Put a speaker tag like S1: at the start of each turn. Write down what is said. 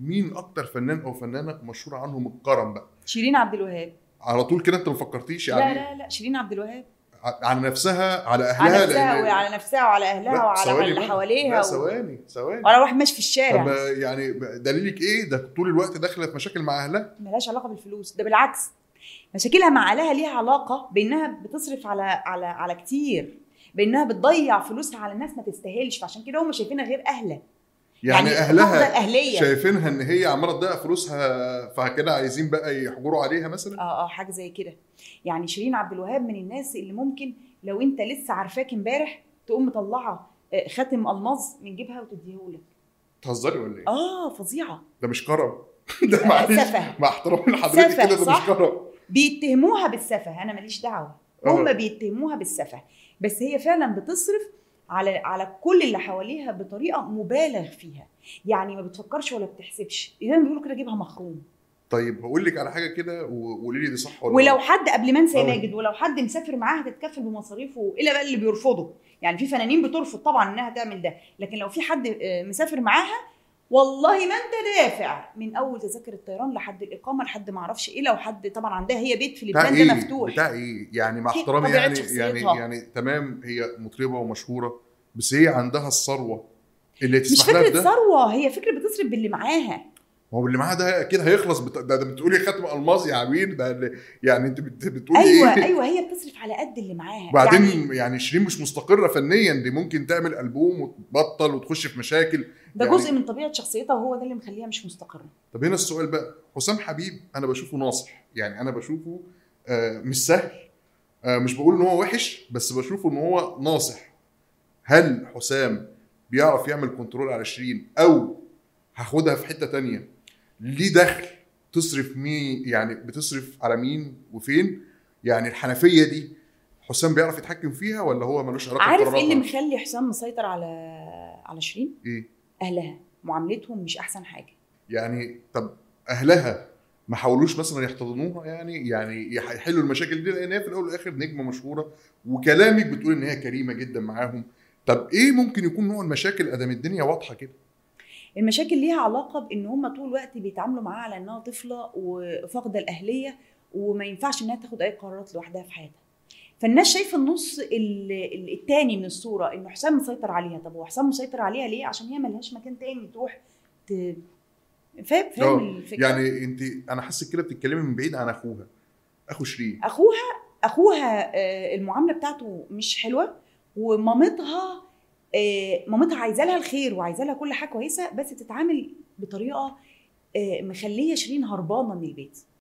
S1: مين اكتر فنان او فنانه مشهور عنهم الكرم بقى
S2: شيرين عبد الوهاب
S1: على طول كده انت ما فكرتيش
S2: لا
S1: يعني
S2: لا لا شيرين عبد الوهاب
S1: على نفسها على
S2: على
S1: اهلها
S2: نفسها
S1: لأن-
S2: وعلى نفسها وعلى اهلها
S1: لا،
S2: وعلى
S1: ثواني
S2: اللي
S1: بقى.
S2: حواليها
S1: لا
S2: و-
S1: ثواني ثواني
S2: ولا واحد ماشي في
S1: طب
S2: الشارع
S1: يعني دليلك ايه ده طول الوقت داخله في مشاكل مع اهلها
S2: ملهاش علاقه بالفلوس ده بالعكس مشاكلها مع اهلها ليها علاقه بانها بتصرف على على على كتير بانها بتضيع فلوسها على ناس ما تستاهلش فعشان كده هم شايفينها غير اهله
S1: يعني,
S2: فاقدة
S1: اهلها
S2: الاهليه
S1: شايفينها ان هي عماله تضيع فلوسها فكده عايزين بقى يحجروا عليها مثلا
S2: اه اه حاجه زي كده يعني شيرين عبد الوهاب من الناس اللي ممكن لو انت لسه عارفاك امبارح تقوم مطلعه آه، خاتم الماظ من جيبها وتديهولك
S1: بتهزري ولا ايه
S2: اه فظيعه
S1: ده مش كرم ده معلش
S2: سفه.
S1: مع احترامي لحضرتك
S2: سفه،
S1: كده ده مش
S2: صح؟
S1: كرم
S2: بيتهموها بالسفه انا ماليش دعوه
S1: آه.
S2: هم بيتهموها بالسفه بس هي فعلا بتصرف على على كل اللي حواليها بطريقه مبالغ فيها يعني ما بتفكرش ولا بتحسبش زي ما بيقولوا كده جيبها مخروم
S1: طيب هقول لك على حاجه كده وقولي لي دي صح ولا
S2: ولو
S1: غلط.
S2: حد قبل ما انسى
S1: آه.
S2: ماجد ولو حد مسافر معاها هتتكفل بمصاريفه الا بقى اللي بيرفضه يعني في فنانين بترفض طبعا انها تعمل ده لكن لو في حد آه، مسافر معاها والله ما انت دافع من اول تذاكر الطيران لحد الاقامه لحد ما اعرفش ايه لو حد طبعا عندها هي بيت في
S1: بتاع
S2: لبنان
S1: ايه
S2: ده مفتوح
S1: بتاع ايه يعني مع
S2: في
S1: احترامي
S2: طبيعة
S1: يعني يعني
S2: شخصيتها.
S1: يعني تمام هي مطربه ومشهوره بس هي عندها الثروه اللي
S2: مش
S1: تسمح لها
S2: فكره
S1: بده
S2: ثروه هي فكره بتصرف باللي معاها
S1: ما هو اللي معاها ده اكيد هيخلص بت... ده, ده بتقولي ختم الماظ يا عمير ده اللي... يعني انت بت... بتقولي
S2: ايوه
S1: ايه
S2: ايوه هي بتصرف على قد اللي معاها
S1: وبعدين
S2: يعني
S1: يعني... شيرين مش مستقره فنيا دي ممكن تعمل البوم وتبطل وتخش في مشاكل
S2: ده
S1: يعني-
S2: جزء من طبيعه شخصيتها وهو ده اللي مخليها مش مستقره
S1: طب هنا السؤال بقى حسام حبيب انا بشوفه ناصح يعني انا بشوفه آه مش سهل آه مش بقول ان هو وحش بس بشوفه ان هو ناصح هل حسام بيعرف يعمل كنترول على شيرين او هاخدها في حته تانية ليه دخل تصرف مين يعني بتصرف على مين وفين يعني الحنفيه دي حسام بيعرف يتحكم فيها ولا هو ملوش علاقه
S2: عارف ايه
S1: بقراراتها؟
S2: اللي مخلي حسام مسيطر على على شيرين
S1: ايه
S2: اهلها معاملتهم مش احسن حاجه
S1: يعني طب اهلها ما حاولوش مثلا يحتضنوها يعني يعني يح- يحلوا المشاكل دي لان هي في الاول والاخر نجمه مشهوره وكلامك بتقول ان هي كريمه جدا معاهم طب ايه ممكن يكون نوع المشاكل ادام الدنيا واضحه كده
S2: المشاكل ليها علاقه بان هم طول الوقت بيتعاملوا معاها على انها طفله وفاقده الاهليه وما ينفعش انها تاخد اي قرارات لوحدها في حياتها فالناس شايفه النص ال- ال- التاني من الصوره انه حسام مسيطر عليها طب هو حسام مسيطر عليها ليه عشان هي ملهاش مكان تاني تروح ت... فاهم
S1: آه،
S2: فاهم الفكره
S1: يعني انت انا حاسس كده بتتكلمي من بعيد عن اخوها اخو شيرين
S2: اخوها اخوها آه، المعامله بتاعته مش حلوه ومامتها آه، مامتها عايزه لها الخير وعايزه لها كل حاجه كويسه بس بتتعامل بطريقه آه، مخليه شيرين هربانه من البيت